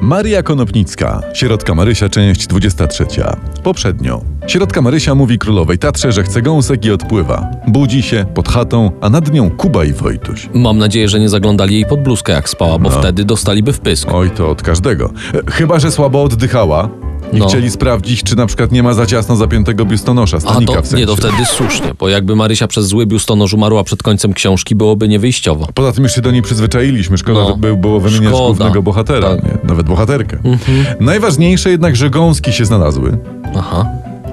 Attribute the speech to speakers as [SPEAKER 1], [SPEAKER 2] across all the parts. [SPEAKER 1] Maria Konopnicka, Sierotka Marysia, część 23. Poprzednio. Sierotka Marysia mówi królowej Tatrze, że chce gąsek i odpływa. Budzi się pod chatą, a nad nią Kuba i Wojtuś.
[SPEAKER 2] Mam nadzieję, że nie zaglądali jej pod bluzkę jak spała,
[SPEAKER 1] No.
[SPEAKER 2] bo wtedy dostaliby wpysk.
[SPEAKER 1] Oj, to od każdego. E, Chyba, że słabo oddychała i
[SPEAKER 2] No.
[SPEAKER 1] chcieli sprawdzić, czy na przykład nie ma za ciasno zapiętego biustonosza,
[SPEAKER 2] A
[SPEAKER 1] stanika
[SPEAKER 2] to,
[SPEAKER 1] w sensie.
[SPEAKER 2] nie, to wtedy słusznie, bo jakby Marysia przez zły biustonosz umarła przed końcem książki, byłoby niewyjściowo.
[SPEAKER 1] Poza tym już się do niej przyzwyczailiśmy. Szkoda
[SPEAKER 2] No.
[SPEAKER 1] że by było wymieniać
[SPEAKER 2] Szkoda.
[SPEAKER 1] głównego bohatera,
[SPEAKER 2] Tak. Mhm.
[SPEAKER 1] nie, nawet bohaterkę. Najważniejsze jednak, że gąski się znalazły.
[SPEAKER 2] Aha.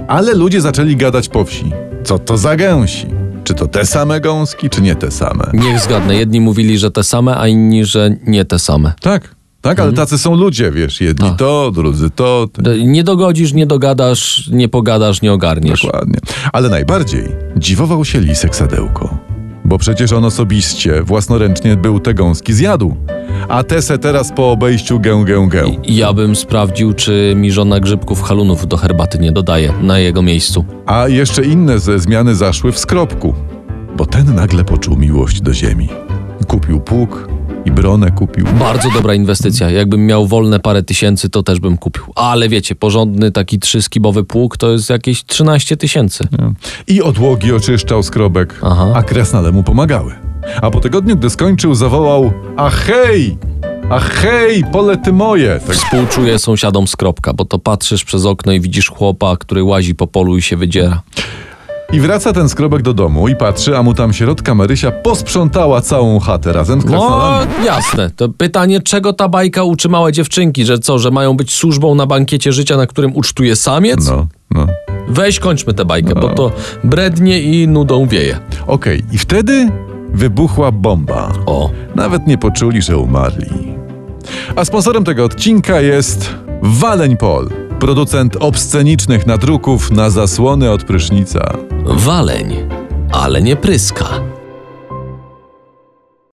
[SPEAKER 1] Ale ludzie zaczęli gadać po wsi. Co to za gęsi? Czy to te same gąski, czy nie te same?
[SPEAKER 2] Niech zgadnę, jedni mówili, że te same, a inni, że nie te same.
[SPEAKER 1] Tak, tak, ale tacy są ludzie, wiesz, jedni
[SPEAKER 2] Tak.
[SPEAKER 1] to, drudzy to, te-
[SPEAKER 2] D- Nie dogodzisz, nie dogadasz, nie pogadasz, nie ogarniesz.
[SPEAKER 1] dokładnie. Ale najbardziej dziwował się lisek sadełko. Bo przecież on osobiście, własnoręcznie był te gąski zjadł. A te se teraz po obejściu gę, gę, gę.
[SPEAKER 2] I Ja bym sprawdził, czy mi żona grzybków halunów do herbaty nie dodaje na jego miejscu.
[SPEAKER 1] A jeszcze inne ze zmiany zaszły w skropku, bo ten nagle poczuł miłość do ziemi. Kupił pług i bronę kupił.
[SPEAKER 2] Bardzo dobra inwestycja. Jakbym miał wolne parę tysięcy, to też bym kupił. Ale wiecie, porządny taki trzyskibowy pług to jest jakieś 13 tysięcy.
[SPEAKER 1] I odłogi oczyszczał skrobek,
[SPEAKER 2] Aha.
[SPEAKER 1] a kresnale mu pomagały. A po tygodniu, gdy skończył, zawołał A hej! A hej, pole ty moje! Tak,
[SPEAKER 2] Współczuję sąsiadom skropka, bo to patrzysz przez okno i widzisz chłopa, który łazi po polu i się wydziera.
[SPEAKER 1] I wraca ten skrobek do domu i patrzy, a mu tam środka Marysia posprzątała całą chatę razem z
[SPEAKER 2] No,
[SPEAKER 1] kresnalami.
[SPEAKER 2] jasne. To pytanie, czego ta bajka uczy małe dziewczynki, że co, że mają być służbą na bankiecie życia, na którym ucztuje samiec?
[SPEAKER 1] No, no.
[SPEAKER 2] Weź kończmy tę bajkę, bo to brednie i nudą wieje.
[SPEAKER 1] Okej, i wtedy wybuchła bomba.
[SPEAKER 2] O,
[SPEAKER 1] Nawet nie poczuli, że umarli. A sponsorem tego odcinka jest Waleń Pol, producent obscenicznych nadruków na zasłony od prysznica.
[SPEAKER 2] waleń, ale nie pryska.